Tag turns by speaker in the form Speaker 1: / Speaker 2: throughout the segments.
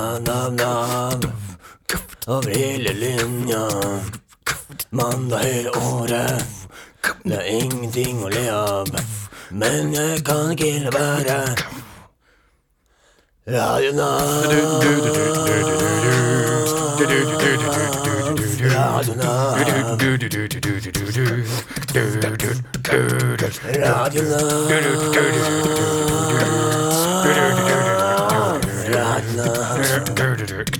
Speaker 1: Nam-nam-nam over hele linja. Mandag hele året. Det er ingenting å le av. Men jeg kan ikke la være. Radio Nav. Radio Nav. Radio Nav.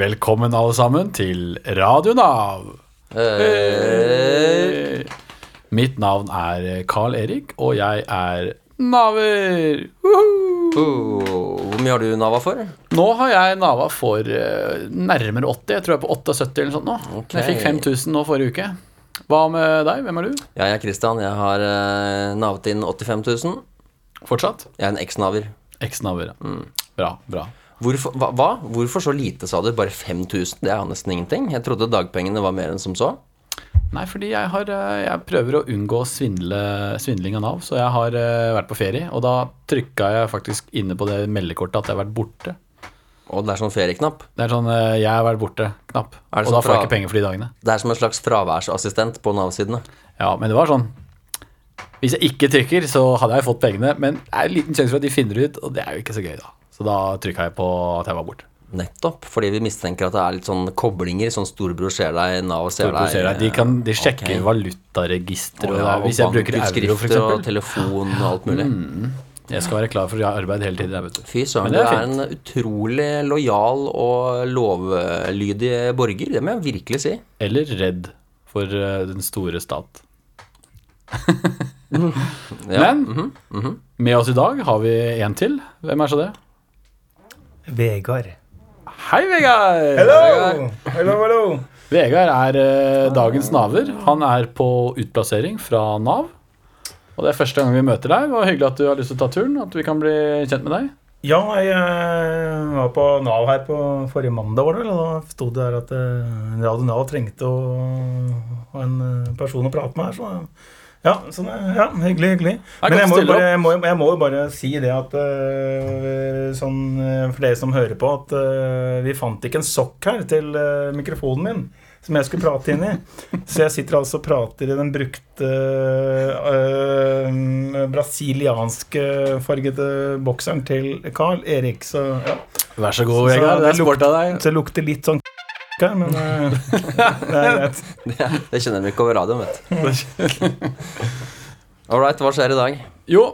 Speaker 2: Velkommen alle sammen til Radio Nav. Hei. Mitt navn er Carl Erik, og jeg er naver. Woohoo!
Speaker 3: Hvor mye har du Nava for?
Speaker 2: Nå har jeg nava for eh, nærmere 80. Jeg tror jeg er på 78 eller noe sånt nå.
Speaker 3: Ok.
Speaker 2: Jeg fikk 5000 nå forrige uke. Hva med deg? Hvem er du?
Speaker 3: Ja, jeg er Kristian. Jeg har eh, navet inn 85 000.
Speaker 2: Fortsatt?
Speaker 3: Jeg er en eks-naver.
Speaker 2: Eks-naver. ja. Bra, bra.
Speaker 3: Hvorfor, hva, hva? Hvorfor så lite, sa du? Bare 5000? Det er jo nesten ingenting. Jeg trodde dagpengene var mer enn som så.
Speaker 2: Nei, fordi jeg, har, eh, jeg prøver å unngå svindle, svindling av Nav, så jeg har eh, vært på ferie. Og da trykka jeg faktisk inne på det meldekortet at jeg har vært borte.
Speaker 3: Og det er sånn ferieknapp.
Speaker 2: Det er sånn eh, 'jeg har vært borte'-knapp.
Speaker 3: Er det
Speaker 2: Og da
Speaker 3: sånn
Speaker 2: får jeg
Speaker 3: fra-
Speaker 2: ikke penger for de dagene.
Speaker 3: Det er som en slags fraværsassistent på Nav-sidene.
Speaker 2: Ja, men det var sånn Hvis jeg ikke trykker, så hadde jeg fått pengene. Men det er en liten sjanse for at de finner det ut, og det er jo ikke så gøy, da. Så da trykka jeg på at jeg var borte.
Speaker 3: Nettopp. Fordi vi mistenker at det er litt sånn koblinger. Sånn storebror ser deg, Nav ser
Speaker 2: Storebror
Speaker 3: deg.
Speaker 2: ser deg. De, kan, de sjekker
Speaker 3: Ok.
Speaker 2: valutaregisteret.
Speaker 3: Og
Speaker 2: og
Speaker 3: ja,
Speaker 2: da-
Speaker 3: og
Speaker 2: hvis jeg bruker euro, Hmm.
Speaker 3: bankutskrifter og
Speaker 2: f.eks.
Speaker 3: telefon og alt mulig.
Speaker 2: Jeg skal være klar for arbeid hele tiden. jeg vet du.
Speaker 3: Fy søren,
Speaker 2: Men
Speaker 3: du
Speaker 2: det er
Speaker 3: er en utrolig lojal og lovlydig borger. Det må jeg virkelig si.
Speaker 2: Eller redd for eh, den store stat.
Speaker 3: Ja. mhm,
Speaker 2: Men med oss i dag har vi en til. Hvem er så det?
Speaker 4: Vegard.
Speaker 2: Hei, Vegard!
Speaker 4: Hello! Hello, hello!
Speaker 2: Vegard er eh, dagens naver. Han er på utplassering fra Nav. Og det er første gang vi møter deg. Det var hyggelig at du har lyst til å ta turen. At vi kan bli kjent med deg.
Speaker 4: Ja, jeg eh, var på Nav her på forrige mandag, var det vel? Og da sto det her at eh, Radio Nav trengte å ha en eh, person å prate med her, så ja, så, det- ja hyggelig, hyggelig.
Speaker 2: er
Speaker 4: Men
Speaker 2: godt
Speaker 4: jeg må,
Speaker 2: å stille
Speaker 4: jo bare, jeg, må, jeg må jo bare si det at eh, sånn eh, for dere som hører på, at eh, vi fant ikke en sokk her til eh, mikrofonen min. Som jeg skulle prate inn i. Så jeg sitter altså og prater i den brukte eh, brasilianske fargede bokseren til Carl Erik. Så, ja.
Speaker 2: Vær så god,
Speaker 4: Så-
Speaker 2: Vegard. Det er
Speaker 4: det
Speaker 2: sport av deg.
Speaker 4: så det lukter litt sånn her, men eh, det er greit.
Speaker 3: Det kjenner vi ikke over radioen, vet du. All right, hva skjer i dag?
Speaker 2: Jo,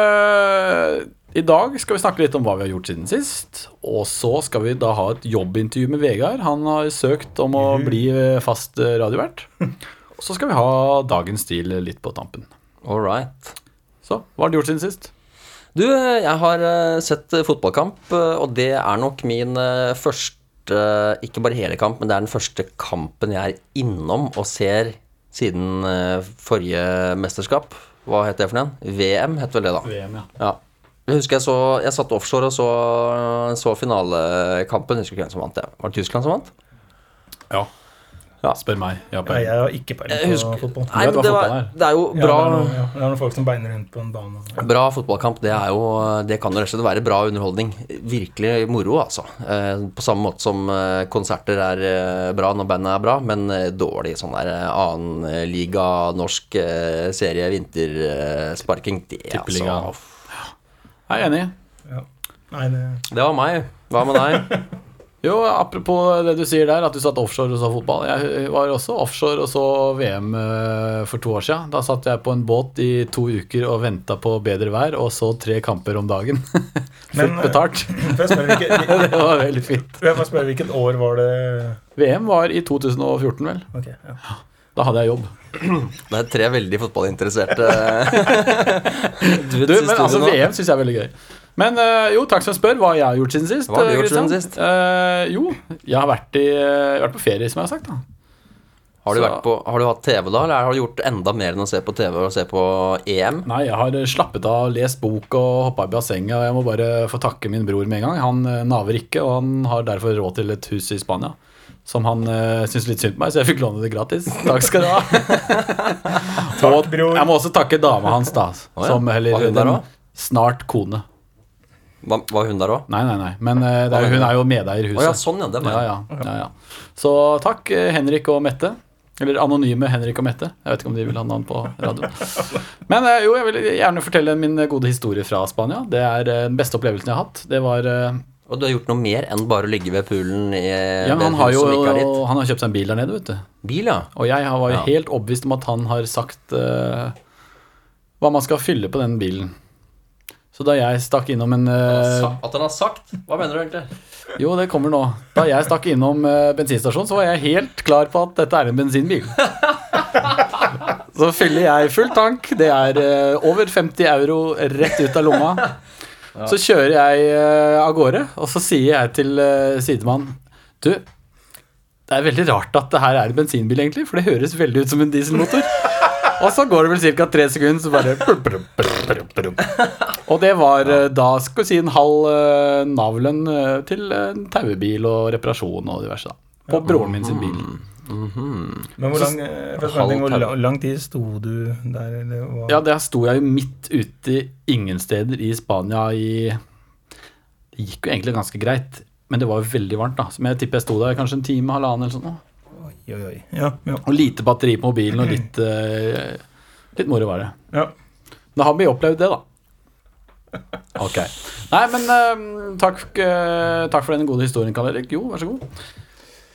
Speaker 2: eh, i dag skal vi snakke litt om hva vi har gjort siden sist. Og så skal vi da ha et jobbintervju med Vegard. Han har søkt om å
Speaker 4: Mhm.
Speaker 2: bli eh, fast eh, radiovert. Og så skal vi ha dagens stil litt på tampen.
Speaker 3: All right.
Speaker 2: Så, hva har du gjort siden sist?
Speaker 3: Du, jeg har eh, sett eh, fotballkamp, eh, og det er nok min eh, første eh, Ikke bare hele kamp, men det er den første kampen jeg er innom og ser siden eh, forrige mesterskap. Hva het det for noe? VM het vel det, da.
Speaker 2: VM, ja.
Speaker 3: Ja. Jeg husker jeg så Jeg satt offshore og så, så finalekampen. Jeg husker ikke hvem som vant. det Var det Tyskland som vant?
Speaker 2: ja.
Speaker 3: Ja.
Speaker 2: Spør meg. Ja,
Speaker 4: Nei,
Speaker 2: Per.
Speaker 4: jeg har ikke
Speaker 3: Jeg
Speaker 4: peiling på
Speaker 3: husker
Speaker 4: fotball.
Speaker 3: Nei,
Speaker 2: vet
Speaker 3: men
Speaker 2: hva
Speaker 3: det,
Speaker 2: fotball
Speaker 3: var,
Speaker 2: er.
Speaker 3: det er jo
Speaker 4: Ja,
Speaker 3: bra
Speaker 4: det, er noen, ja, det er noen folk som beiner rundt på en bane. og-
Speaker 3: Bra fotballkamp, det er jo Det kan jo rett og slett være bra underholdning. Virkelig moro, altså. Eh, På samme måte som eh, konserter er eh, bra når bandet er bra, men eh, dårlig sånn der eh, annen eh, liga, norsk eh, serie, vintersparking, det er
Speaker 2: Tippeliga.
Speaker 3: altså
Speaker 2: Jeg er enig.
Speaker 4: Ja. Nei, det,
Speaker 3: Det var meg. Hva med deg?
Speaker 2: Jo, apropos det du sier der, at du satt offshore og så fotball. Jeg var også offshore og så VM eh, for to år siden. Da satt jeg på en båt i to uker og venta på bedre vær, og så tre kamper om dagen.
Speaker 4: Men, eh,
Speaker 2: Fullt betalt.
Speaker 4: får jeg spørre hvilket,
Speaker 2: Det var veldig fint.
Speaker 4: får jeg spørre hvilket år var det
Speaker 2: VM var i 2014, vel.
Speaker 4: Ok, ja.
Speaker 2: Da hadde jeg jobb.
Speaker 3: Det er tre veldig fotballinteresserte dudes
Speaker 2: Du,
Speaker 3: i
Speaker 2: men
Speaker 3: studio
Speaker 2: altså
Speaker 3: nå.
Speaker 2: VM syns jeg er veldig gøy. Men eh, jo, takk som spør hva jeg har gjort siden sist.
Speaker 3: Hva har du
Speaker 2: eh,
Speaker 3: gjort siden
Speaker 2: Christian.
Speaker 3: sist?
Speaker 2: Eh, jo, jeg har vært, i, eh, jeg har vært på ferie, som jeg har sagt. da
Speaker 3: Har du,
Speaker 2: Så-
Speaker 3: vært på, har du hatt TV da, eller har du gjort enda mer enn å se på TV og se på E EM?
Speaker 2: Nei, jeg har slappet av, lest bok og hoppa i bassenget. Og jeg må bare få takke min bror med en gang. Han eh, naver ikke, og han har derfor råd til et hus i eh, Spania. Som han uh, syns litt synd på meg, så jeg fikk låne det gratis. Takk skal du ha. Og
Speaker 4: Takk, bror.
Speaker 2: jeg må også takke dama hans, da.
Speaker 3: Å, ja.
Speaker 2: Som heller
Speaker 3: Var hun der
Speaker 2: den
Speaker 3: også?
Speaker 2: snart kone.
Speaker 3: Var, var hun der òg?
Speaker 2: Nei, nei, nei. Men eh, det er, jo- hun er jo medeier i
Speaker 3: Å ja,
Speaker 2: huset.
Speaker 3: sånn, ja. Det var
Speaker 2: Ja, ja, ja, ja. Så takk, eh, Henrik og Mette. Eller anonyme Henrik og Mette. Jeg vet ikke om de vil ha navn på radioen. Men eh, jo, jeg vil gjerne fortelle min eh, gode historie fra Spania. Det er eh, den beste opplevelsen jeg har hatt. Det var eh,
Speaker 3: Og du har gjort noe mer enn bare å ligge ved poolen i
Speaker 2: Ja, men
Speaker 3: ved
Speaker 2: han
Speaker 3: et
Speaker 2: har
Speaker 3: hus
Speaker 2: jo
Speaker 3: som ikke er ditt?
Speaker 2: han har kjøpt seg en bil der nede, vet du.
Speaker 3: Bil, ja.
Speaker 2: Og jeg har- var jo
Speaker 3: Ja.
Speaker 2: helt overbevist om at han har sagt eh, hva man skal fylle på den bilen. Så da jeg stakk innom en eh,
Speaker 3: Sa- At han har sagt? Hva mener du egentlig?
Speaker 2: Jo, det kommer nå. Da jeg stakk innom eh, bensinstasjonen, så var jeg helt klar på at dette er en bensinbil. Så fyller jeg full tank. Det er eh, over 50 euro rett ut av lomma. Så kjører jeg eh, av gårde, og så sier jeg til eh, sidemannen Du, det er veldig rart at det her er en bensinbil, egentlig, for det høres veldig ut som en dieselmotor. Og så går det vel ca. tre sekunder, så bare plup, plup, plup, plup, plup. Og det var eh, da skal vi si en halv eh, navlen eh, til en taubil og reparasjon og diverse. da På broren min sin bil.
Speaker 4: Men hvor lang, eh, for å spørre en ting, hvor
Speaker 3: Halv-
Speaker 4: la- lang tid sto du der, eller hva?
Speaker 2: Ja, der sto jeg jo midt ute ingen steder i Spania i Det gikk jo egentlig ganske greit, men det var jo veldig varmt, da. Som jeg tipper jeg sto der kanskje en time, halvannen eller sånn. da.
Speaker 4: Oi, oi. Ja, ja,
Speaker 2: Og lite batteri på mobilen, og litt eh, Litt moro var det.
Speaker 4: ja.
Speaker 2: Da har vi opplevd det, da. Ok. Nei, men eh, takk, eh, takk for den gode historien, Karl Erik. Jo, vær så god.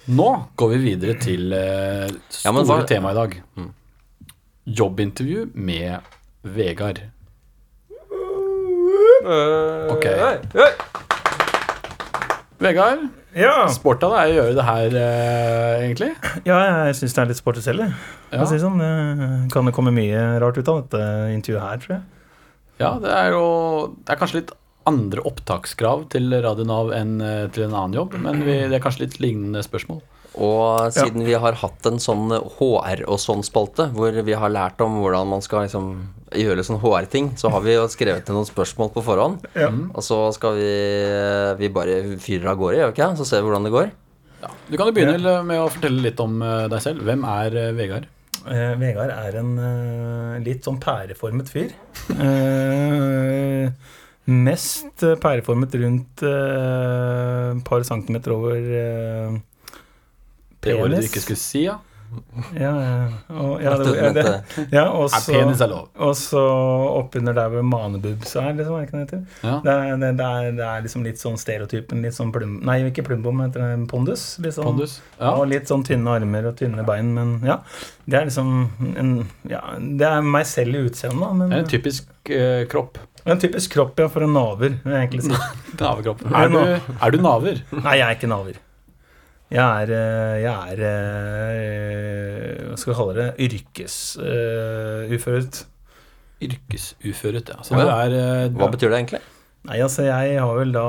Speaker 2: Nå går vi videre til eh,
Speaker 3: Ja,
Speaker 2: store
Speaker 3: men hva- Mm.
Speaker 2: tema i dag. Jobbintervju med Vegard. Ok. Vegard,
Speaker 4: ja.
Speaker 2: sport av deg å gjøre det her, eh, egentlig.
Speaker 4: ja jeg syns det er litt sporty selv, jeg. For å
Speaker 2: Ja.
Speaker 4: Si det sånn. Det kan det komme mye rart ut av dette intervjuet her, tror jeg.
Speaker 2: ja, det er jo Det er kanskje litt andre opptakskrav til Radio Nav enn eh, til en annen jobb, men vi, det er kanskje litt lignende spørsmål.
Speaker 3: Og siden vi har hatt en sånn HR og sånn-spalte, hvor vi har lært om hvordan man skal liksom gjøre litt sånn HR-ting, så har vi jo skrevet ned noen spørsmål på forhånd.
Speaker 4: Ja.
Speaker 2: Mm.
Speaker 3: Og så skal vi Vi bare fyrer av gårde, gjør vi ikke? Så ser vi hvordan det går.
Speaker 2: Ja. Du kan jo begynne med å fortelle litt om eh, deg selv. Hvem er eh, Vegard?
Speaker 4: Eh, Vegard er en eh, litt sånn pæreformet fyr. Eh, mest eh, pæreformet rundt eh, et par centimeter over eh,
Speaker 2: Det ordet du
Speaker 4: Penis.
Speaker 2: ikke skulle si, ja.
Speaker 4: ja, ja, og, ja,
Speaker 3: At
Speaker 4: det,
Speaker 3: du
Speaker 4: ja, det,
Speaker 3: mente-
Speaker 4: ja, og
Speaker 2: Er penis
Speaker 4: så,
Speaker 2: er lov.
Speaker 4: og så oppunder der hvor manebubsa er, liksom. Er det ikke det heter?
Speaker 2: Ja.
Speaker 4: Det, er- det, det, er, det er liksom litt sånn stereotypen. Litt sånn plum... Nei, ikke plumbo, men heter det pondus? Litt sånn,
Speaker 2: Pondus. Ja.
Speaker 4: Og litt sånn tynne armer og tynne bein, men ja. Det er liksom en, ja, Det er meg selv i utseendet, da.
Speaker 2: Det er
Speaker 4: Men
Speaker 2: en typisk eh, kropp.
Speaker 4: en typisk kropp, ja, for en naver. vil jeg egentlig si.
Speaker 2: Navekropp. Er du, er du naver?
Speaker 4: Nei, jeg er ikke naver. Jeg er, eh, jeg er eh, Hva skal vi kalle det? eh, Yrkesuføret.
Speaker 2: Yrkesuføret, ja. Så
Speaker 3: Å,
Speaker 2: du
Speaker 3: ja.
Speaker 2: er eh,
Speaker 3: Hva betyr det egentlig?
Speaker 4: Nei, altså, jeg har vel da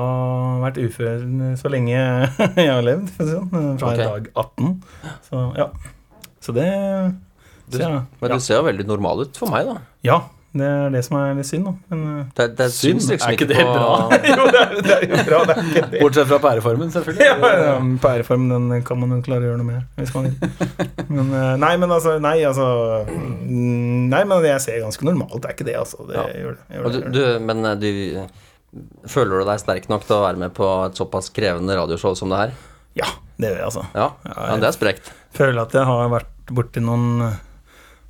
Speaker 4: vært ufør så lenge jeg har levd, for å si det sånn. Fra
Speaker 3: Ok.
Speaker 4: dag 18. Så ja. Så det så, ja.
Speaker 3: Men du ser jo veldig normal ut for meg, da.
Speaker 4: ja. Det er det som er litt synd, da. Men eh,
Speaker 3: Det, det
Speaker 2: Synd,
Speaker 3: syns liksom
Speaker 2: er ikke
Speaker 3: ikke
Speaker 2: det
Speaker 3: på
Speaker 2: bra?
Speaker 4: jo, det er, det er jo bra, det er ikke det.
Speaker 2: Bortsett fra pæreformen, selvfølgelig.
Speaker 4: Ja, ja, men Pæreform, den kan man jo klare å gjøre noe med. Hvis man vil. Men, eh, nei, men altså Nei, altså mm, Nei, men jeg ser ganske normalt, det er ikke det, altså. Det
Speaker 3: Ja.
Speaker 4: gjør det. Gjør
Speaker 3: Og
Speaker 4: det,
Speaker 3: du,
Speaker 4: gjør
Speaker 3: du,
Speaker 4: det.
Speaker 3: men eh, du Føler du deg sterk nok til å være med på et såpass krevende radioshow som det her?
Speaker 4: Ja, det gjør jeg, altså.
Speaker 3: Ja, ja det er sprekt.
Speaker 4: Føler at jeg har vært borti noen eh,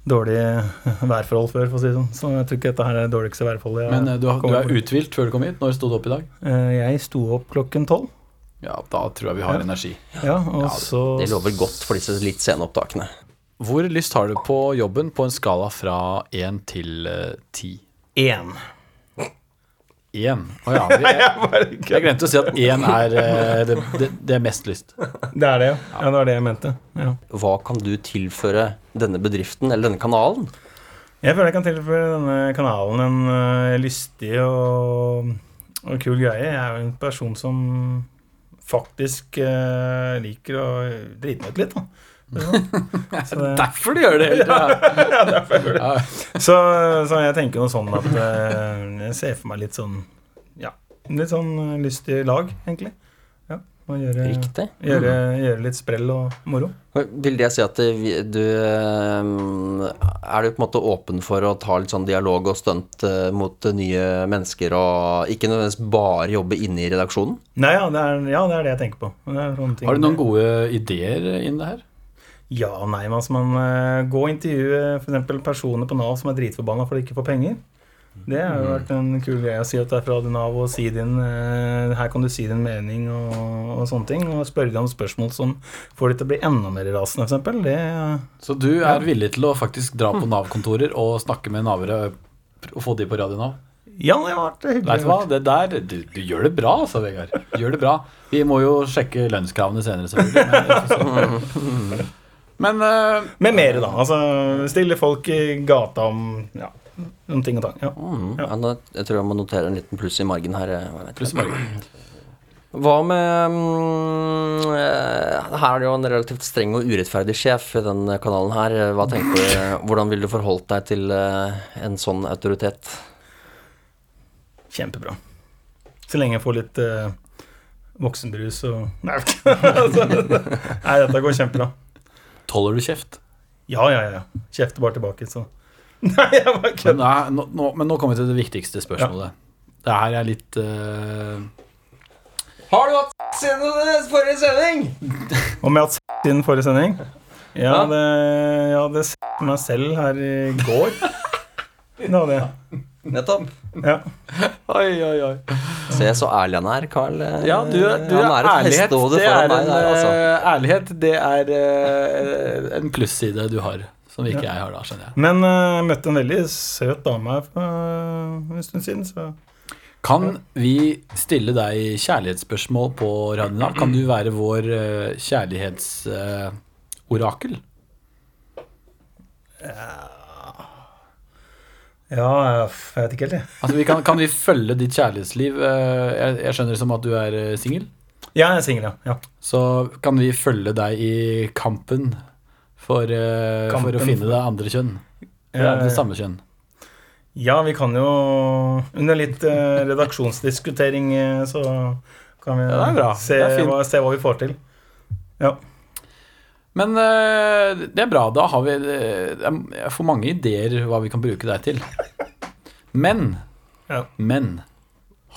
Speaker 4: dårlige værforhold før, for å si det sånn. Så jeg tror ikke dette her er det dårligste værforholdet. jeg
Speaker 2: Men eh, du, har- du
Speaker 4: kommer
Speaker 2: er
Speaker 4: borti.
Speaker 2: uthvilt før du kom hit. Når sto du opp i dag?
Speaker 4: Eh, Jeg sto opp klokken tolv,
Speaker 2: Ja, da tror jeg vi har energi.
Speaker 4: ja, og så
Speaker 3: Det lover godt for disse litt sene opptakene.
Speaker 2: Hvor lyst har du på jobben på en skala fra 1 til eh, 10?
Speaker 4: én.
Speaker 2: 1? Å ja. vi- Jeg, jeg glemte å si at 1 er eh, det, det, det er mest lyst.
Speaker 4: Det er det, ja. ja. Det var det jeg mente. Ja.
Speaker 3: Hva kan du tilføre denne bedriften eller denne kanalen?
Speaker 4: Jeg føler jeg kan tilføre denne kanalen en øh, lystig og, og kul greie. Jeg er jo en person som faktisk øh, liker å drite meg ut litt, da. Så, det,
Speaker 2: Derfor du gjør det! Ja.
Speaker 4: så, så jeg tenker noe sånn at eh, øh, jeg ser for meg litt sånn Ja, litt sånn øh, lystig lag, egentlig. Ja. Og gjøre,
Speaker 3: Riktig.
Speaker 4: gjøre, gjøre litt sprell og moro.
Speaker 3: Vil det si at det vi- du ehm, Er du på en måte åpen for å ta litt sånn dialog og stunt eh, mot nye mennesker, og ikke nødvendigvis bare jobbe inne i redaksjonen?
Speaker 4: Nei, ja, det er, ja, det er det jeg tenker på. Det er sånne ting.
Speaker 2: Har du noen gode ideer innen det her?
Speaker 4: Ja, nei, men altså man eh, Gå og intervjue f.eks. personer på Nav som er dritforbanna for de ikke får penger. Det har jo vært en kul greie å si at det er fra Nav og si din eh, Her kan du si din mening og, og sånne ting. Og spørre dem om spørsmål som får de til å bli enda mer rasende, f.eks. Det
Speaker 2: Så du er villig til å faktisk dra på Nav-kontorer og snakke med navere og få de på radio Nav?
Speaker 4: Ja, det har vært hyggelig.
Speaker 2: Vet du hva, det der du, du gjør det bra, altså, Vegard. Du Gjør det bra. Vi må jo sjekke lønnskravene senere, selvfølgelig. Men, jeg synes- men eh,
Speaker 4: Med mere, da. Altså stille folk i gata om ja, om ting og tang. Ja.
Speaker 3: Mm.
Speaker 4: Ja.
Speaker 3: Ja. da- Jeg tror jeg må notere en liten pluss i margen her. eh, hva vet jeg.
Speaker 2: pluss og minus.
Speaker 3: Hva med mm, eh, Her er det jo en relativt streng og urettferdig sjef i den kanalen her. Hva tenker du, Hvordan ville du forholdt deg til eh, en sånn autoritet?
Speaker 4: Kjempebra. Så lenge jeg får litt eh, voksenbrus og Nei, altså, nei, dette går kjempebra.
Speaker 2: Tåler du kjeft?
Speaker 4: Ja, ja, ja. ja. Kjefter bare tilbake, så Nei, jeg bare
Speaker 2: Men,
Speaker 4: kødder.
Speaker 2: nei, nå, nå, men nå kommer vi til det viktigste spørsmålet. Det her er litt eh,
Speaker 3: Har du hatt siden forrige sending?
Speaker 4: Om jeg har hatt s*** siden forrige sending? Ja,
Speaker 3: Ja.
Speaker 4: det, jeg hadde s*** meg selv her i går. Det hadde jeg.
Speaker 3: Nettopp.
Speaker 4: Ja.
Speaker 2: Oi, oi, oi.
Speaker 3: Se så ærlig han er, Carl. Eh,
Speaker 2: Ja, du, du
Speaker 3: han
Speaker 2: er
Speaker 3: er et
Speaker 2: ærlighet.
Speaker 3: hestehode
Speaker 2: Det er
Speaker 3: foran
Speaker 2: en,
Speaker 3: meg der, altså.
Speaker 2: eh, ærlighet, det er eh, en plusside du har, som ikke jeg har da, skjønner jeg.
Speaker 4: Men eh, jeg møtte en veldig søt dame her for eh, en stund siden, så
Speaker 2: Kan vi stille deg kjærlighetsspørsmål på radioen? da? Kan du være vår eh, kjærlighetsorakel?
Speaker 4: Ja, jeg f- jeg vet ikke helt, jeg.
Speaker 2: Altså, vi kan, kan vi følge ditt kjærlighetsliv? Eh, Jeg, jeg skjønner det som at du er eh, singel.
Speaker 4: Ja, jeg er singel, ja. ja.
Speaker 2: Så kan vi følge deg i kampen for, eh, for
Speaker 4: Kampen
Speaker 2: å finne det andre kjønn. Det
Speaker 4: Ja,
Speaker 2: er det
Speaker 3: Eh,
Speaker 4: ja.
Speaker 2: samme kjønn.
Speaker 4: Ja, vi kan jo Under litt eh, redaksjonsdiskutering, eh, så kan vi
Speaker 2: Ja, det er bra.
Speaker 4: se,
Speaker 2: Det er fint.
Speaker 4: hva, se hva vi får til. Ja.
Speaker 2: Men eh, det er bra. Da har vi eh, Jeg får mange ideer hva vi kan bruke deg til. Men
Speaker 4: Ja.
Speaker 2: Men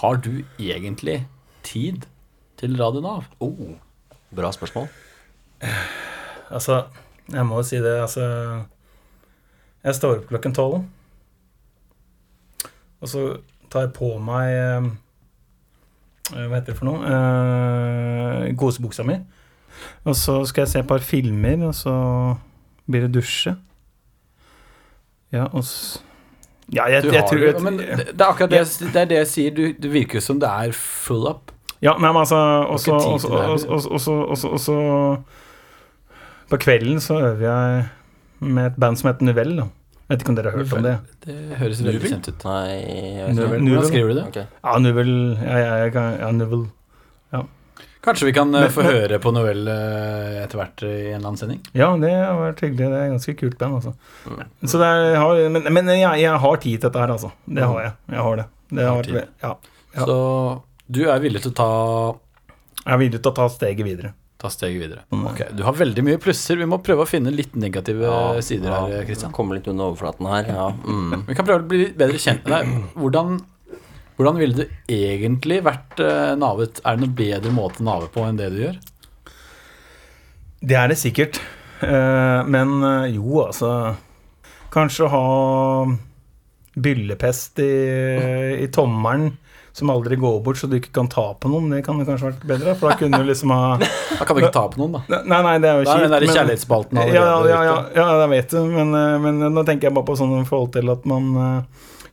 Speaker 2: har du egentlig tid til Radio Nav?
Speaker 3: Oh,
Speaker 2: eh,
Speaker 3: bra spørsmål.
Speaker 4: Altså, jeg må jo si det, altså Jeg står opp klokken tolv. Og så tar jeg på meg eh, Hva heter det for noe? Eh, Kosebuksa mi. Og så skal jeg se et par filmer, og så blir det dusje. Ja, og s... Ja, jeg,
Speaker 2: Du
Speaker 4: jeg
Speaker 2: har
Speaker 4: tror
Speaker 2: jo- men det det er akkurat det, jeg- det, er det jeg sier. Du, det virker jo som det er full up.
Speaker 4: Ja, nei, men altså Og så
Speaker 2: Du har ikke tid til det her, liksom.
Speaker 4: og- og- og- og så- og så- og så- På kvelden så øver jeg med et band som heter Nuvell. da. Vet ikke om dere har hørt om det?
Speaker 2: Det høres veldig
Speaker 3: Nuvel?
Speaker 2: kjent ut.
Speaker 3: Nei jeg vet ikke.
Speaker 4: Nuvel.
Speaker 2: Hvordan skriver du det?
Speaker 3: Ok.
Speaker 4: Ja, Nuvell ja, ja, jeg kan- ja, Nuvell.
Speaker 2: Kanskje vi kan eh,
Speaker 4: Men-
Speaker 2: få
Speaker 4: men-
Speaker 2: høre på Noel eh, etter hvert eh, i en eller annen sending?
Speaker 4: Ja, det har vært hyggelig. Det er et ganske kult band, altså.
Speaker 2: Mm.
Speaker 4: Så det er, jeg har, men men jeg, jeg har tid til dette her, altså. Det har jeg. Jeg har det. det har
Speaker 2: Mm. Har
Speaker 4: vært, ja. Ja.
Speaker 2: Så du er villig til å ta,
Speaker 4: Jeg er villig til å ta steget videre.
Speaker 2: ta steget videre. Ok, Du har veldig mye plusser. Vi må prøve å finne litt negative eh, sider her, Kristian.
Speaker 3: Kommer litt under overflaten her. Ja. Mm.
Speaker 2: Vi kan prøve å bli litt bedre kjent med deg. Hvordan, hvordan ville du egentlig vært eh, navet? Er det noen bedre måte å nave på enn det du gjør?
Speaker 4: Det er det sikkert. Eh, Men eh, jo, altså Kanskje å ha byllepest i, i tommelen som aldri går bort, så du ikke kan ta på noen. Det kan jo kanskje vært bedre, for da kunne du liksom ha
Speaker 2: Da kan vi ikke ta på noen, da.
Speaker 4: Nei, nei, det er jo
Speaker 2: Da er den der
Speaker 4: men-
Speaker 2: kjærlighetsspalten allerede
Speaker 4: ja, ja, ja,
Speaker 2: ute.
Speaker 4: ja, jeg vet det, men, eh, men nå tenker jeg bare på sånn i forhold til at man eh,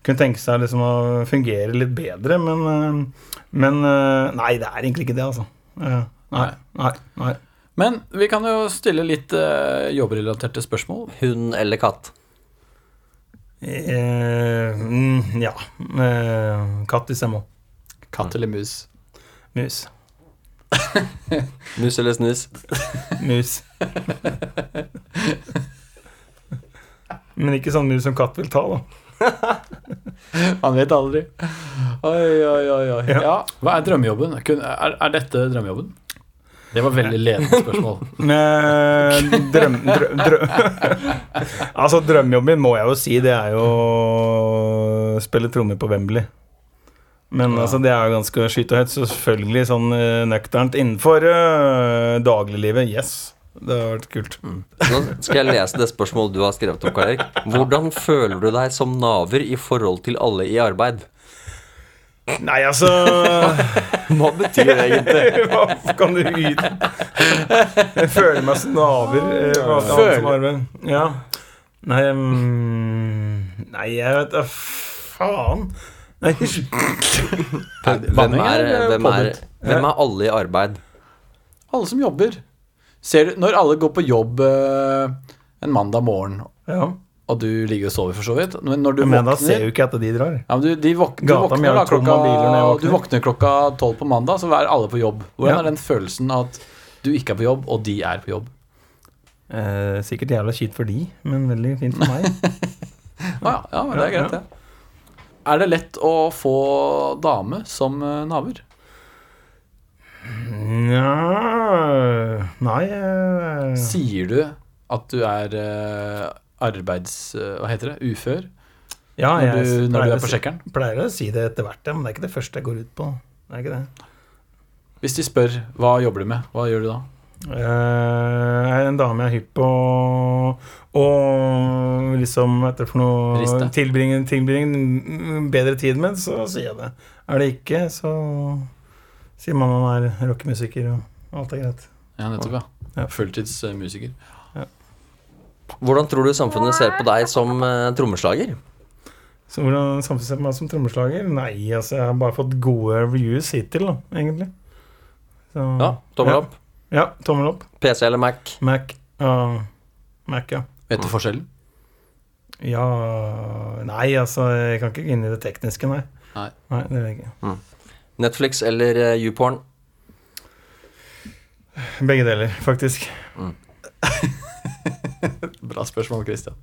Speaker 4: kunne tenke seg liksom å fungere litt bedre, men, eh, men eh, Nei, det er egentlig ikke det, altså. Eh, Nei, nei, nei.
Speaker 2: Men vi kan jo stille litt eh, jobbrelaterte spørsmål.
Speaker 3: Hund eller katt?
Speaker 4: Eh, mm, ja. Eh, katt hvis jeg må.
Speaker 2: Katt eller mus?
Speaker 4: Mus.
Speaker 3: Mus eller snus?
Speaker 4: Mus. Men ikke sånn mus som katt vil ta, da.
Speaker 2: Man vet aldri. Oi, oi, oi. oi.
Speaker 4: Ja.
Speaker 2: Ja. Hva er drømmejobben? Kun- Er, er dette drømmejobben? Det var veldig ledende spørsmål.
Speaker 4: Men drøm, drø, drø, altså drømmejobben min, må jeg jo si, det er jo å spille trommer på Wembley. Men altså, det er jo ganske skyt og høyt, så selvfølgelig sånn eh, nøkternt innenfor eh, dagliglivet. Yes, det har vært kult.
Speaker 3: Nå skal jeg lese det spørsmålet du har skrevet om, Karl Erik. Hvordan føler du deg som naver i forhold til alle i arbeid?
Speaker 4: Nei, altså
Speaker 3: Hva betyr det egentlig?
Speaker 4: Hva kan du ut Jeg føler meg som naver. eh, for at han som har arbeid. Ja. Nei, mm, nei, jeg vet da faen. Nei,
Speaker 3: Hvem er, hvem, er,
Speaker 2: påbudt?
Speaker 3: hvem er alle i arbeid?
Speaker 2: Alle som jobber. Ser du, når alle går på jobb eh, en mandag morgen,
Speaker 4: ja.
Speaker 2: og du ligger og sover for så vidt Men når du
Speaker 4: Men da ser
Speaker 2: våkner
Speaker 4: jo ikke jeg at de drar.
Speaker 2: ja, men du, de våk, du,
Speaker 4: Gata mi
Speaker 2: våkner
Speaker 4: er tom
Speaker 2: da
Speaker 4: av
Speaker 2: klokka,
Speaker 4: biler når jeg
Speaker 2: du
Speaker 4: våkner.
Speaker 2: våkner klokka tolv på mandag, så er alle på jobb. Hvordan
Speaker 4: Ja.
Speaker 2: er den følelsen at du ikke er på jobb, og de er på jobb?
Speaker 4: Eh, sikkert jævla kjipt for de, men veldig fint for meg.
Speaker 2: Ah, ja, ja, men det
Speaker 4: Ja,
Speaker 2: er greit, det. Er det lett å få dame som eh, naver?
Speaker 4: Nja Nei eh,
Speaker 2: Sier du at du er eh, arbeids... eh, Hva heter det? Ufør?
Speaker 4: ja,
Speaker 2: Når du,
Speaker 4: jeg
Speaker 2: når du
Speaker 4: pleier
Speaker 2: er
Speaker 4: å
Speaker 2: på
Speaker 4: si-
Speaker 2: sjekkeren?
Speaker 4: Pleier å si det etter hvert, ja, men det er ikke det første jeg går ut på. Det er ikke det.
Speaker 2: Hvis de spør hva jobber du med, hva gjør du da?
Speaker 4: Eh, Jeg Eh, er en dame jeg er hypp på og liksom hva heter det for noe
Speaker 2: Riste.
Speaker 4: tilbringe, tilbringe en bedre tid med, så sier jeg det. Er det ikke, så sier man man er rockemusiker og alt er greit.
Speaker 2: Ja, nettopp, ja.
Speaker 4: Ja.
Speaker 2: Fulltidsmusiker.
Speaker 3: Hvordan tror du samfunnet ser på deg som eh, trommeslager?
Speaker 4: Så hvordan samfunnssetter meg som trommeslager? Nei, altså jeg har bare fått gode reviews hittil, da, egentlig. Så,
Speaker 3: Ja, tommel opp.
Speaker 4: Ja, tommel opp.
Speaker 3: PC eller Mac?
Speaker 4: Mac. ja. Mac, ja.
Speaker 2: Vet
Speaker 3: Mm.
Speaker 2: du forskjellen?
Speaker 4: Ja Nei, altså, jeg kan ikke gå inn i det tekniske, nei.
Speaker 2: Nei.
Speaker 4: nei det vil jeg ikke.
Speaker 3: Netflix eller eh, YouPorn?
Speaker 4: Begge deler, faktisk.
Speaker 2: Bra spørsmål, Christian.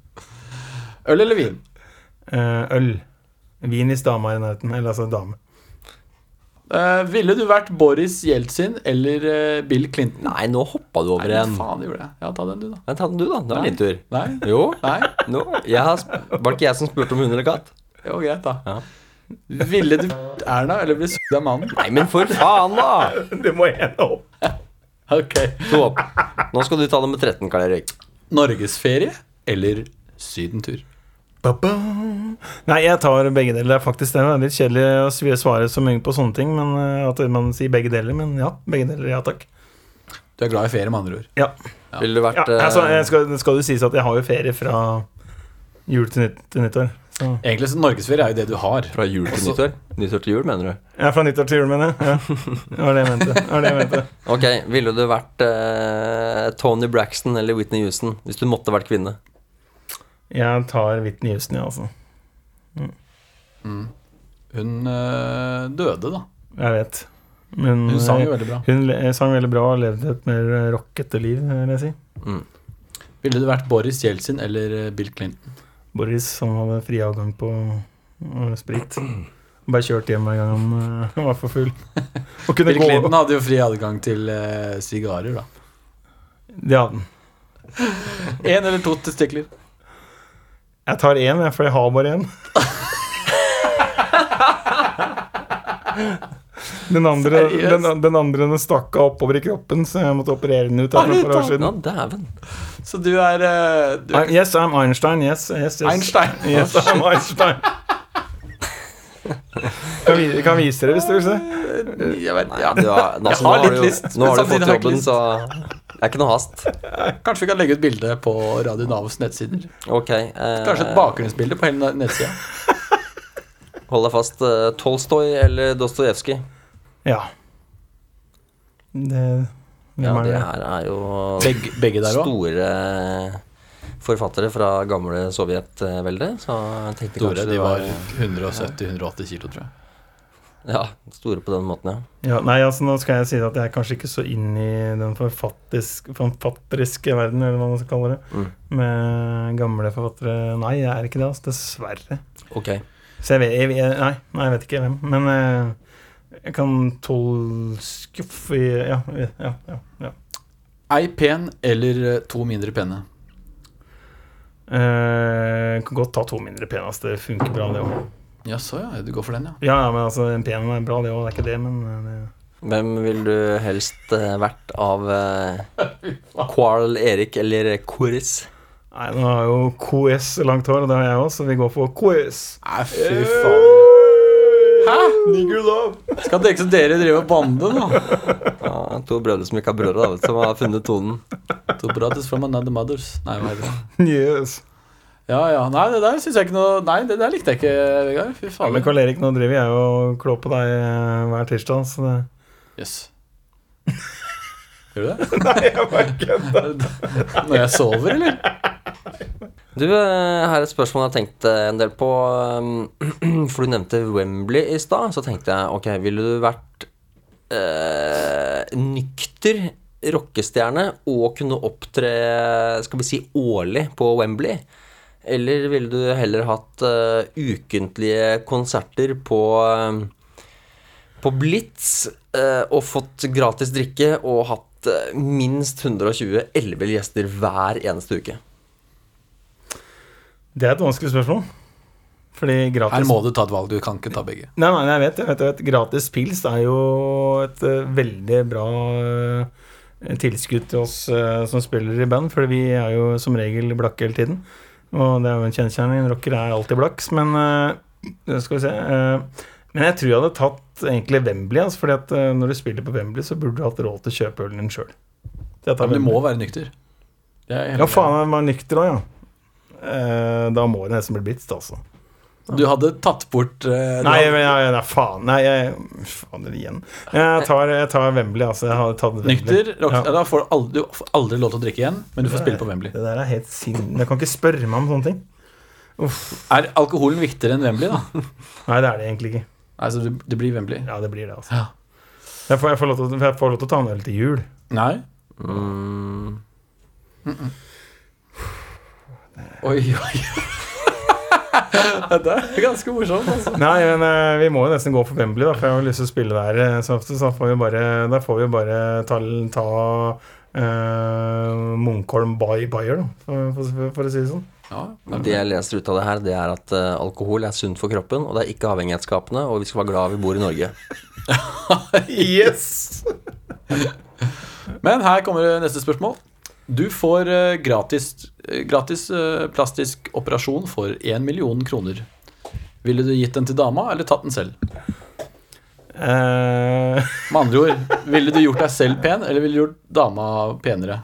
Speaker 2: Øl eller vin?
Speaker 4: Eh, øl. Vin i dama i nærheten. Eller altså dame.
Speaker 2: Eh, ville du vært Boris Jeltsin eller eh, Bill Clinton?
Speaker 3: Nei, nå hoppa du over
Speaker 2: Nei,
Speaker 3: en.
Speaker 2: faen, det gjorde jeg. Ja, ta den du, da.
Speaker 3: Nei, ta den du, da. Det var
Speaker 2: Nei.
Speaker 3: din tur.
Speaker 2: Nei?
Speaker 3: Jo.
Speaker 2: Nei?
Speaker 3: Nå, jeg har, sp- var det ikke jeg som spurte om hund eller katt?
Speaker 2: Jo, greit, da. Ville du vært Erna eller bli sugd av mannen?
Speaker 3: Nei, men for faen, da!
Speaker 4: Det må jeg ende opp.
Speaker 2: Ok.
Speaker 3: To opp. Nå skal du ta det med 13, Karl Erik.
Speaker 2: Norgesferie eller sydentur?
Speaker 4: Nei, jeg tar begge deler. Det er faktisk det. Det er litt kjedelig å sv- svare så mye på sånne ting, men eh, at man sier begge deler. Men ja, begge deler. Ja takk.
Speaker 2: Du er glad i ferie, med andre ord.
Speaker 4: Ja.
Speaker 3: Ville du
Speaker 4: ja
Speaker 3: vært eh,
Speaker 4: altså, jeg skal, skal det sies at jeg har jo ferie fra jul til, nytt, til nyttår. Så.
Speaker 2: Egentlig så norgesferie er jo det du har.
Speaker 3: Fra jul til
Speaker 2: Også-
Speaker 3: nyttår? Nyttår til jul, mener du?
Speaker 4: Ja, fra nyttår til jul, mener jeg. Ja. Det var det jeg mente. Det var det jeg mente.
Speaker 3: Ok, ville du vært eh, Tony Braxton eller Whitney Houston hvis du måtte vært kvinne?
Speaker 4: Jeg tar Whitney Houston, jeg, altså.
Speaker 2: Mm. Hun eh, døde, da.
Speaker 4: Jeg vet. Men
Speaker 3: Mm.
Speaker 2: Hun sang jo veldig bra.
Speaker 4: Hun le- eh, sang veldig bra og levde et mer eh, rockete liv, vil jeg si.
Speaker 3: Mm.
Speaker 2: Ville du vært Boris Jeltsin eller eh, Bill Clinton?
Speaker 4: Boris som hadde fri avgang på eh, sprit. Bare kjørt hjem hver gang han eh, var for full. Og kunne
Speaker 2: Bill
Speaker 4: gå
Speaker 2: Clinton hadde jo fri adgang til eh, sigarer, da.
Speaker 4: Det hadde han.
Speaker 2: Én eller to testikler.
Speaker 4: Jeg tar én, jeg, for jeg har bare én. Den andre,
Speaker 2: Seriøst?
Speaker 4: den, den andre den stakk av oppover i kroppen, så jeg måtte operere den ut. her for et par år
Speaker 3: Ja,
Speaker 4: siden
Speaker 3: dæven.
Speaker 2: Så du er, eh, du
Speaker 4: I'm-
Speaker 2: er
Speaker 4: Yes, I'm Einstein. Yes, yes, yes.
Speaker 2: Einstein.
Speaker 4: Yes, I'm Einstein. kan, vi, kan vise dere hvis dere vil se.
Speaker 2: Jeg vet, ja.
Speaker 3: Du har, altså,
Speaker 2: Jeg
Speaker 3: nå
Speaker 2: har litt
Speaker 3: du,
Speaker 2: lyst,
Speaker 3: Nå
Speaker 2: men
Speaker 3: har du
Speaker 2: samtidig
Speaker 3: fått
Speaker 2: har jeg ikke
Speaker 3: jobben,
Speaker 2: lyst.
Speaker 3: så det er ikke noe hast.
Speaker 2: Kanskje vi kan legge ut bilde på Radio Navs nettsider.
Speaker 3: Ok. eh,
Speaker 2: Kanskje et bakgrunnsbilde på hele nettsida.
Speaker 3: Hold deg fast. eh, Tolstoy eller Dostojevskij?
Speaker 4: Ja. Det, hvem
Speaker 3: Ja,
Speaker 4: er
Speaker 3: det
Speaker 4: det?
Speaker 3: her er jo
Speaker 2: Begge, begge der òg.
Speaker 3: store eh, forfattere fra gamle sovjetveldet, så jeg tenkte
Speaker 2: Store.
Speaker 3: kanskje
Speaker 2: De
Speaker 3: det
Speaker 2: var 170-180 kilo, tror jeg.
Speaker 3: Ja, store på den måten, ja.
Speaker 4: Ja, nei, altså Nå skal jeg si at jeg er kanskje ikke så inn i den forfattisk, forfatteriske verden, eller hva man skal kalle det,
Speaker 3: Mm.
Speaker 4: med gamle forfattere. Nei, jeg er ikke det, altså. Dessverre.
Speaker 3: Ok.
Speaker 4: Så jeg vet, jeg, vet- nei, nei, jeg vet ikke hvem. Men eh, Jeg kan tolv skuff i ja, ja, ja, ja.
Speaker 2: Ei pen eller eh, to mindre pene?
Speaker 4: Eh, kan godt ta to mindre pene, ass. Det funker bra, det òg.
Speaker 2: Jaså, ja. Du går for den, ja.
Speaker 4: Ja, ja, men altså, en pen er bra, det òg. Det er ikke det, men eh, det
Speaker 3: Hvem vil du helst eh, vært av eh, Quarl Erik eller Koris?
Speaker 4: Nei, nå har jo KS langt hår, og det har jeg òg, så vi går for KS.
Speaker 2: Nei, fy
Speaker 4: Eh.
Speaker 2: faen. Hæ? Skal dere som dere drive og bande nå?
Speaker 3: Ja, to brødre som ikke har brødre, da, vet du, som har funnet tonen.
Speaker 2: To brothers from another mothers. Nei, hva heter det?
Speaker 4: Yes.
Speaker 2: Ja, ja. Nei, det der synes jeg ikke noe Nei, det der likte jeg ikke, Vegard. Fy
Speaker 4: Ja,
Speaker 2: faen.
Speaker 4: men Karl Erik, nå driver jeg og klår på deg eh, hver tirsdag, så det
Speaker 2: Jøss. Gjør du det?
Speaker 4: Nei, jeg bare kødder.
Speaker 2: Når jeg sover, eller?
Speaker 3: Du, eh, her er et spørsmål jeg har tenkt eh, en del på. eh, For du nevnte Wembley i stad. Så tenkte jeg, ok, ville du vært eh, nykter rockestjerne og kunne opptre, skal vi si, årlig på Wembley? Eller ville du heller hatt eh, ukentlige konserter på eh, på Blitz eh, og fått gratis drikke og hatt eh, minst 120 elleville gjester hver eneste uke.
Speaker 4: Det er et vanskelig spørsmål. Fordi
Speaker 2: Her
Speaker 4: gratis
Speaker 2: må du ta et valg. Du kan ikke ta begge.
Speaker 4: Nei, nei, jeg vet, jeg vet, jeg vet. Gratis pils er jo et eh, veldig bra eh, tilskudd til oss eh, som spiller i band, for vi er jo som regel blakke hele tiden. Og det er jo en kjennskjerning. Rocker er alltid blakks, men eh, det skal vi se. eh, men jeg tror jeg hadde tatt egentlig Wembley, altså, fordi at eh, når du spiller på Wembley, så burde du hatt råd til å kjøpe ølen din sjøl.
Speaker 2: Men du må være nykter. Det er jeg helt
Speaker 4: Ja, faen, jeg var nykter òg, ja. Eh, da må det nesten bli blitz, altså.
Speaker 2: enig i. Du hadde tatt bort eh, du
Speaker 4: Nei,
Speaker 2: hadde-
Speaker 4: men nei, nei, faen. Nei, jeg, faen igjen. Jeg tar, jeg tar Wembley, altså. Jeg hadde tatt Wembley.
Speaker 2: Nykter rock,
Speaker 4: Ja.
Speaker 2: ja. Da får du aldri, du får aldri lov til å drikke igjen, men du får spille på Wembley.
Speaker 4: Det der er helt sinn... Jeg kan ikke spørre meg om sånne ting.
Speaker 2: Er alkoholen viktigere enn Wembley, da?
Speaker 4: Nei, det er det egentlig ikke.
Speaker 2: Nei, så det, det blir Wembley.
Speaker 4: Ja, det blir det, altså.
Speaker 2: Ja.
Speaker 4: Jeg får, jeg får, lov, til, jeg får lov til å ta en øl til jul.
Speaker 2: Nei?
Speaker 3: Mm.
Speaker 2: Oi, oi. Dette er ganske morsomt, altså.
Speaker 4: Nei, men eh, vi må jo nesten gå for Wembley, da, for jeg har jo lyst til å spille der eh, så ofte. Så da får vi bare, da får vi bare ta, ta eh, Munkholm by Bayer, da, for, for, for å si det sånn.
Speaker 2: Ja,
Speaker 3: Det jeg leser ut av det her, det er at eh, alkohol er sunt for kroppen, og det er ikke avhengighetsskapende, og vi skal være glad vi bor i Norge.
Speaker 4: Yes!
Speaker 2: Men her kommer det neste spørsmål. Du får eh, gratis, eh, gratis eh, plastisk operasjon for 1 million kroner. Ville du gitt den til dama, eller tatt den selv?
Speaker 4: Eh,
Speaker 2: Med andre ord, ville du gjort deg selv pen, eller ville du gjort dama penere?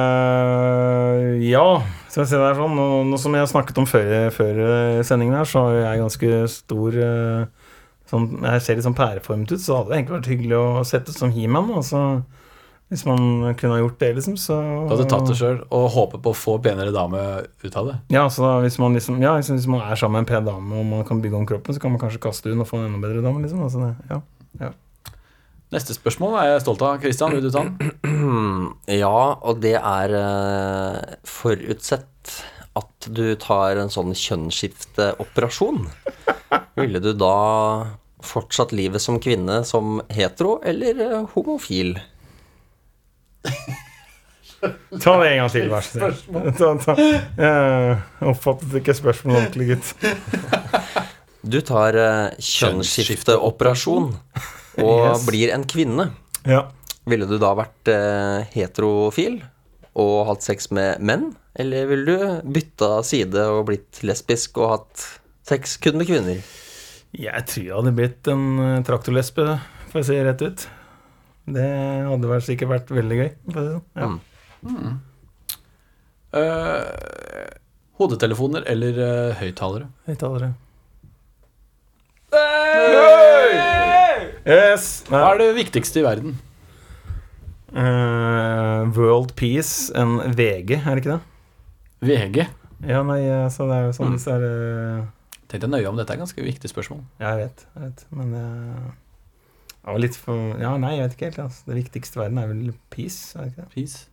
Speaker 4: Eh, ja, skal vi se det er sånn. Nå, nå som jeg har snakket om før, før eh, sendingen her, så har jo jeg ganske stor eh, sånn, Jeg ser litt sånn pæreformet ut, så hadde det egentlig vært hyggelig å sette ut som He-Man. Altså, hvis man kunne ha gjort det, liksom, så
Speaker 2: Du hadde tatt det sjøl og håpet på å få penere dame ut av det.
Speaker 4: Ja, så da, hvis man liksom Ja, liksom, hvis man er sammen med en pen dame og man kan bygge om kroppen, så kan man kanskje kaste hun og få en enda bedre dame, liksom. Altså, det, ja.
Speaker 2: Neste spørsmål er jeg stolt av. Christian, vil du ta den?
Speaker 3: Ja, og det er eh, forutsett at du tar en sånn kjønnsskifteoperasjon. Ville du da fortsatt livet som kvinne som hetero eller eh, homofil?
Speaker 4: Ta det en gang til, vær så snill. Ta- ta- Jeg oppfattet ikke spørsmålet ordentlig, gitt.
Speaker 3: Du tar eh, kjønnsskifteoperasjon og
Speaker 4: Yes.
Speaker 3: blir en kvinne.
Speaker 4: Ja.
Speaker 3: Ville du da vært eh, heterofil og hatt sex med menn? Eller ville du bytta side og blitt lesbisk og hatt sex kun med kvinner?
Speaker 4: Jeg tror jeg hadde blitt en eh, traktorlesbe, for å si det rett ut. Det hadde vært, sikkert vært veldig gøy. for å si det sånn. Ja.
Speaker 3: Mm.
Speaker 2: Eh, hodetelefoner eller eh, høyttalere?
Speaker 4: Høyttalere. Yes! Nei.
Speaker 2: Hva er det viktigste i verden?
Speaker 4: Eh, World Peace enn VG, er det ikke det?
Speaker 2: VG.
Speaker 4: Ja, nei, eh, så det er jo
Speaker 3: Mm.
Speaker 4: sånn disse er eh,
Speaker 2: Tenkte jeg nøye om dette er et ganske viktig spørsmål.
Speaker 4: Ja, jeg vet, jeg vet. Men eh, det var litt for Ja, nei, jeg vet ikke helt. Altså. Det viktigste i verden er vel peace, er det ikke det?
Speaker 2: Please.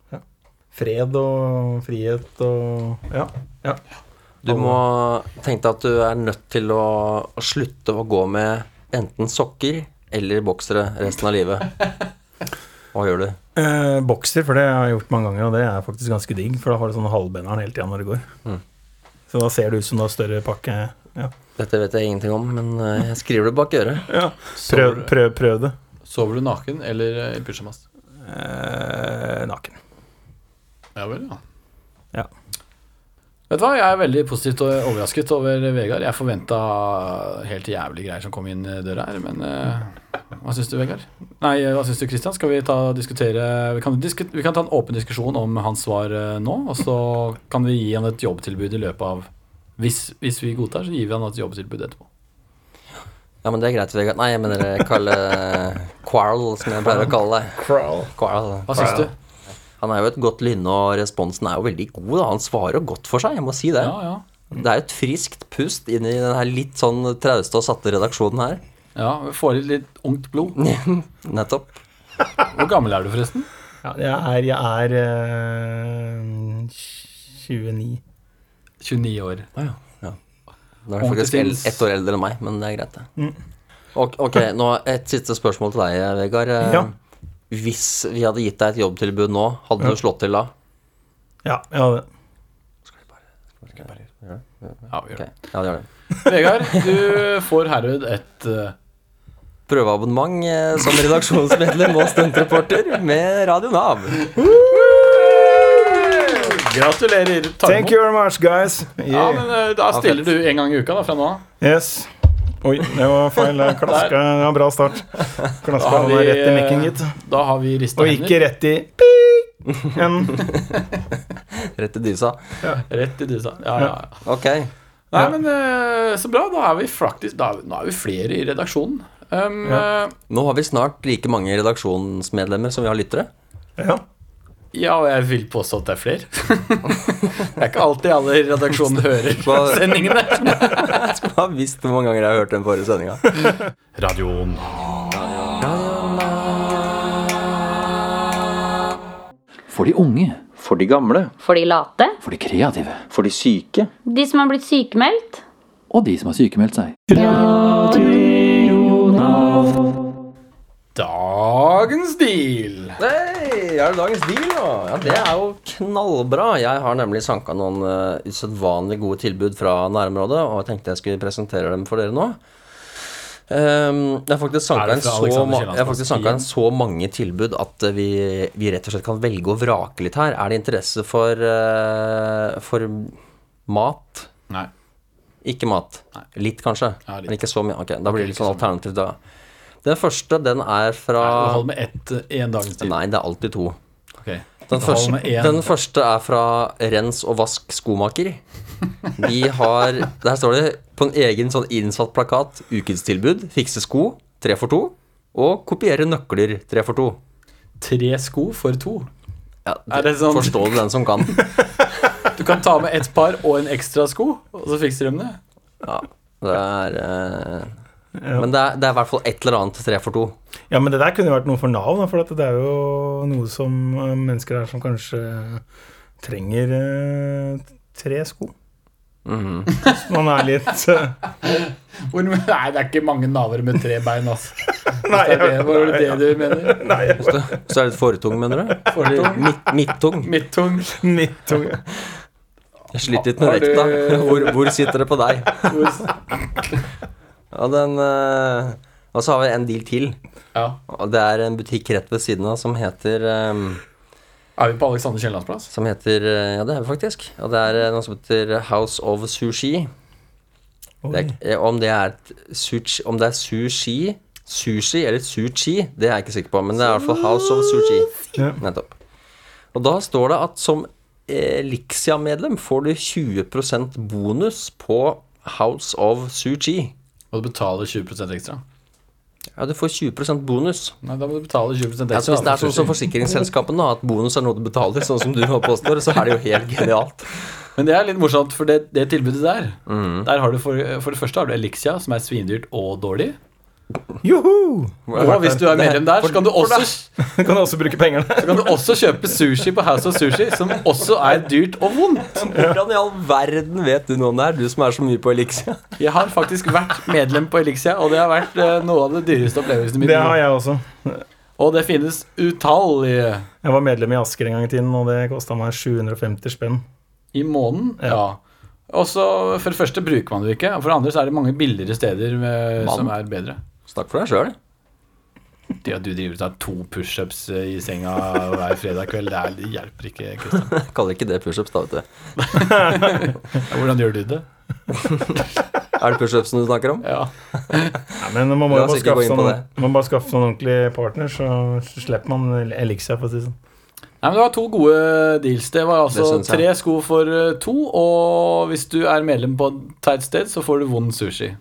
Speaker 4: Fred og frihet og Ja. ja.
Speaker 3: Du må tenke deg at du er nødt til å, å slutte å gå med enten sokker eller boksere resten av livet. Hva gjør du?
Speaker 4: Eh, bokser, for det har jeg gjort mange ganger, og det er faktisk ganske digg. For da har du sånn halvbenneren hele tida når du går.
Speaker 2: Mm.
Speaker 4: Så da ser det ut som du har større pakke. Ja.
Speaker 3: Dette vet jeg ingenting om, men eh, jeg skriver det bak øret.
Speaker 4: Prøv, prøv, prøv det.
Speaker 2: Sover du naken eller eh, i pysjamas?
Speaker 4: Eh, naken.
Speaker 2: Ja vel, ja.
Speaker 4: Ja.
Speaker 2: Vet du hva, jeg er veldig positivt og overrasket over Vegard. Jeg forventa helt jævlige greier som kom inn døra her, men eh, hva syns du, Vegard? Nei, eh, hva syns du, Christian? Skal vi ta og diskutere vi kan, disku, vi kan ta en åpen diskusjon om hans svar eh, nå, og så kan vi gi han et jobbtilbud i løpet av hvis, hvis vi godtar, så gir vi han et jobbtilbud etterpå.
Speaker 3: Ja, men det er greit, Vegard. Nei, jeg mener eh, Kalle Quarl, som jeg pleier å kalle deg. Quarl.
Speaker 2: Hva syns du?
Speaker 3: Han er jo et godt lynne, og responsen er jo veldig god. Da. Han svarer jo godt for seg, jeg må si det.
Speaker 2: Ja, ja.
Speaker 3: Det er jo et friskt pust inn i den her litt sånn trauste og satte redaksjonen her.
Speaker 2: ja vi får litt, litt ungt blod.
Speaker 3: Nettopp.
Speaker 2: Hvor gammel er du, forresten?
Speaker 4: Ja, jeg er, jeg er eh, 29.
Speaker 2: 29 år.
Speaker 3: Nå er du faktisk
Speaker 2: Ordentlig
Speaker 3: el-
Speaker 2: fins.
Speaker 3: ett år eldre enn meg, men det er greit, det.
Speaker 2: Mm.
Speaker 3: Ok, ok, nå et siste spørsmål til deg, Vegard. Eh,
Speaker 4: Ja.
Speaker 3: Hvis vi hadde gitt deg et jobbtilbud nå, hadde du slått til da?
Speaker 4: Ja, jeg hadde det.
Speaker 2: Ja, vi gjør
Speaker 3: Ok,
Speaker 2: det.
Speaker 3: ja, det gjør det.
Speaker 2: Vegard, du får herved et eh,
Speaker 3: Prøveabonnement eh, som redaksjonsmedlem og stuntreporter med Radio Nav.
Speaker 2: Gratulerer. Ta
Speaker 4: Thank
Speaker 2: imot.
Speaker 4: you very much, guys.
Speaker 2: Ja,
Speaker 4: Yeah.
Speaker 2: men eh, da stiller du en gang i uka da, fra nå av.
Speaker 4: Yes. Oi, det var feil. Klaska. Det var bra start. Klaska
Speaker 2: har
Speaker 4: han
Speaker 2: vi,
Speaker 4: er rett i mikken,
Speaker 2: eh,
Speaker 4: gitt.
Speaker 2: Da har vi rista
Speaker 4: Og
Speaker 2: hender
Speaker 4: ikke rett i pik. En.
Speaker 3: Rett i dysa.
Speaker 2: rett i dysa. Ja, ja, ja.
Speaker 3: Ok.
Speaker 2: Nei,
Speaker 4: Ja.
Speaker 2: men eh, så bra. Da er vi faktisk da, Nå er vi flere i redaksjonen. Um,
Speaker 4: Ja.
Speaker 2: eh,
Speaker 3: Nå har vi snart like mange redaksjonsmedlemmer som vi har lyttere.
Speaker 4: Ja.
Speaker 2: ja, og jeg vil påstå at det er flere. det er ikke alltid alle i redaksjonen hører
Speaker 3: Hva-
Speaker 2: sendingene.
Speaker 3: Jeg har visst hvor mange ganger jeg har hørt den forrige sendinga.
Speaker 2: Radioen.
Speaker 5: For de unge,
Speaker 3: For de gamle,
Speaker 6: For de late,
Speaker 5: for de kreative,
Speaker 3: for de syke.
Speaker 6: de som har blitt sykemeldt.
Speaker 5: og de som har sykemeldt seg.
Speaker 2: Dagens deal.
Speaker 3: Hei, er det dagens deal, da? Ja, det er jo knallbra. Jeg har nemlig sanka noen eh, usedvanlig gode tilbud fra nærområdet, og jeg tenkte jeg skulle presentere dem for dere nå. Ehm, jeg har faktisk
Speaker 2: Er det
Speaker 3: sanka inn,
Speaker 2: fra
Speaker 3: så
Speaker 2: Alexander
Speaker 3: ma-
Speaker 2: Kiellands
Speaker 3: jeg har faktisk sanket
Speaker 2: igjen?
Speaker 3: inn så mange tilbud at eh, vi, vi rett og slett kan velge og vrake litt her. Er det interesse for, eh, for mat?
Speaker 2: Nei.
Speaker 3: Ikke mat. Litt, kanskje.
Speaker 2: Ja, litt.
Speaker 3: Men ikke så mye. Ok, Da blir det litt sånn alternativ, da. Den første, den er fra
Speaker 2: Det holder med ett eh, en dagens deal.
Speaker 3: Ah. Nei, det er alltid to.
Speaker 2: Ok.
Speaker 3: Den
Speaker 2: Det holder
Speaker 3: første,
Speaker 2: med én.
Speaker 3: den første er fra Rens og Vask skomaker. De har Der står det på en egen sånn innsatt plakat 'Ukestilbud. Fikse sko. Tre for to'. Og 'Kopiere nøkler. Tre for to'.
Speaker 2: Tre sko for to.
Speaker 3: Ja,
Speaker 2: Er det sånn-
Speaker 3: Forstå det den som kan.
Speaker 2: Du kan ta med ett par og en ekstra sko, og så fikser de det.
Speaker 3: Ja, det er eh, Men det er, det er i hvert fall et eller annet tre for to.
Speaker 4: ja, men det der kunne vært noe for Nav, da, for at det er jo noe som eh, mennesker her som kanskje trenger eh, tre sko.
Speaker 3: Mhm.
Speaker 4: Hvis man er litt eh,
Speaker 2: Hvor, nei, det er ikke mange naver med tre bein, altså.
Speaker 4: Nei,
Speaker 2: Det er det, var det det du mener?
Speaker 3: Så er det litt fortung, mener du?
Speaker 2: Fortung.
Speaker 3: Midt, midtung.
Speaker 2: Midtung.
Speaker 4: midtunge.
Speaker 3: Jeg sliter litt med
Speaker 2: Har du-
Speaker 3: vekta. Hvor, hvor sitter det på deg?
Speaker 2: Hvor-
Speaker 3: Og, den, eh, og så har vi en deal til.
Speaker 2: Ja.
Speaker 3: Og det er en butikk rett ved siden av som heter eh,
Speaker 2: Er vi på Alexander Kiellands plass?
Speaker 3: Som heter eh, Ja, det er vi faktisk. Og det er eh, noe som heter House of Sushi. Det er, eh, om, det er et sushi, om det er sushi, sushi eller sushi, det er jeg ikke sikker på, men det er i hvert fall House of Sushi.
Speaker 4: Ja.
Speaker 3: Nettopp. Og da står det at som eh, Elixia-medlem får du 20 bonus på House of Sushi.
Speaker 2: Må du betale 20 ekstra?
Speaker 3: Ja, du får 20 bonus.
Speaker 2: Nei, da må du betale 20
Speaker 3: Ja,
Speaker 2: ekstra.
Speaker 3: så hvis det er sånn som forsikringsselskapene, da, at bonus er noe du betaler, sånn som du nå påstår, så er det jo helt genialt.
Speaker 2: Men det er litt morsomt, for
Speaker 3: Mm.
Speaker 2: det, det tilbudet der Der har du for, for det første har du Elixia, som er svindyrt og dårlig.
Speaker 4: Joho!
Speaker 2: Og hvis du er medlem der, så kan du også,
Speaker 4: Du kan også bruke pengene.
Speaker 2: så kan du også kjøpe sushi på House of Sushi, som også er dyrt og vondt.
Speaker 3: Hvordan i all verden vet du noe om det her, du som er så mye på Elixia?
Speaker 2: Jeg har faktisk vært medlem på Elixia, og det har vært eh, noe av det dyreste opplevelsen i mitt
Speaker 4: Det har
Speaker 2: liv.
Speaker 4: jeg også.
Speaker 2: Og det finnes utallige
Speaker 4: Jeg var medlem i Asker en gang i tiden, og det kosta meg 750 spenn.
Speaker 2: i måneden. Ja. Og så For det første bruker man det ikke, og for det andre så er det mange billigere steder eh, som er bedre.
Speaker 3: Snakk for deg sjøl.
Speaker 2: Det at du driver og tar to pushups eh, i senga hver fredag kveld, det, er, det hjelper ikke. Kristian.
Speaker 3: Kaller ikke det pushups, da, vet du.
Speaker 2: Hvordan gjør du det?
Speaker 3: Er det pushupsen du snakker om?
Speaker 2: Ja.
Speaker 4: Nei, men man må
Speaker 3: La
Speaker 4: jo bare
Speaker 3: oss ikke gå
Speaker 4: skaffe
Speaker 3: inn
Speaker 4: sånn,
Speaker 3: på
Speaker 4: man bare skaffe sånn ordentlig partner, så så slipper man Elixia, for å si det sånn.
Speaker 2: Nei, men Det var to gode deals. Det var altså
Speaker 3: Det synes jeg.
Speaker 2: tre sko for eh, to, og hvis du er medlem på et teit sted, så får du vond sushi.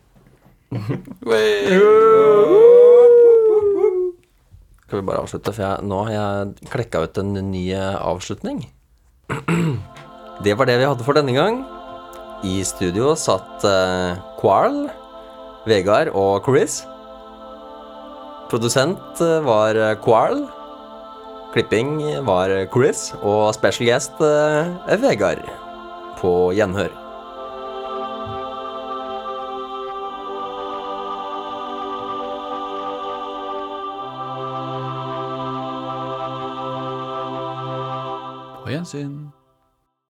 Speaker 3: Skal vi bare avslutte, for jeg, nå har jeg klekka ut en ny eh, avslutning. Det var det vi hadde for denne gang. I studio satt eh, Quarl, Vegard og Chris. Produsent eh, var eh, Quarl. Klipping var eh, Chris, og special guest eh, er Vegard. På gjenhør.
Speaker 2: På gjensyn.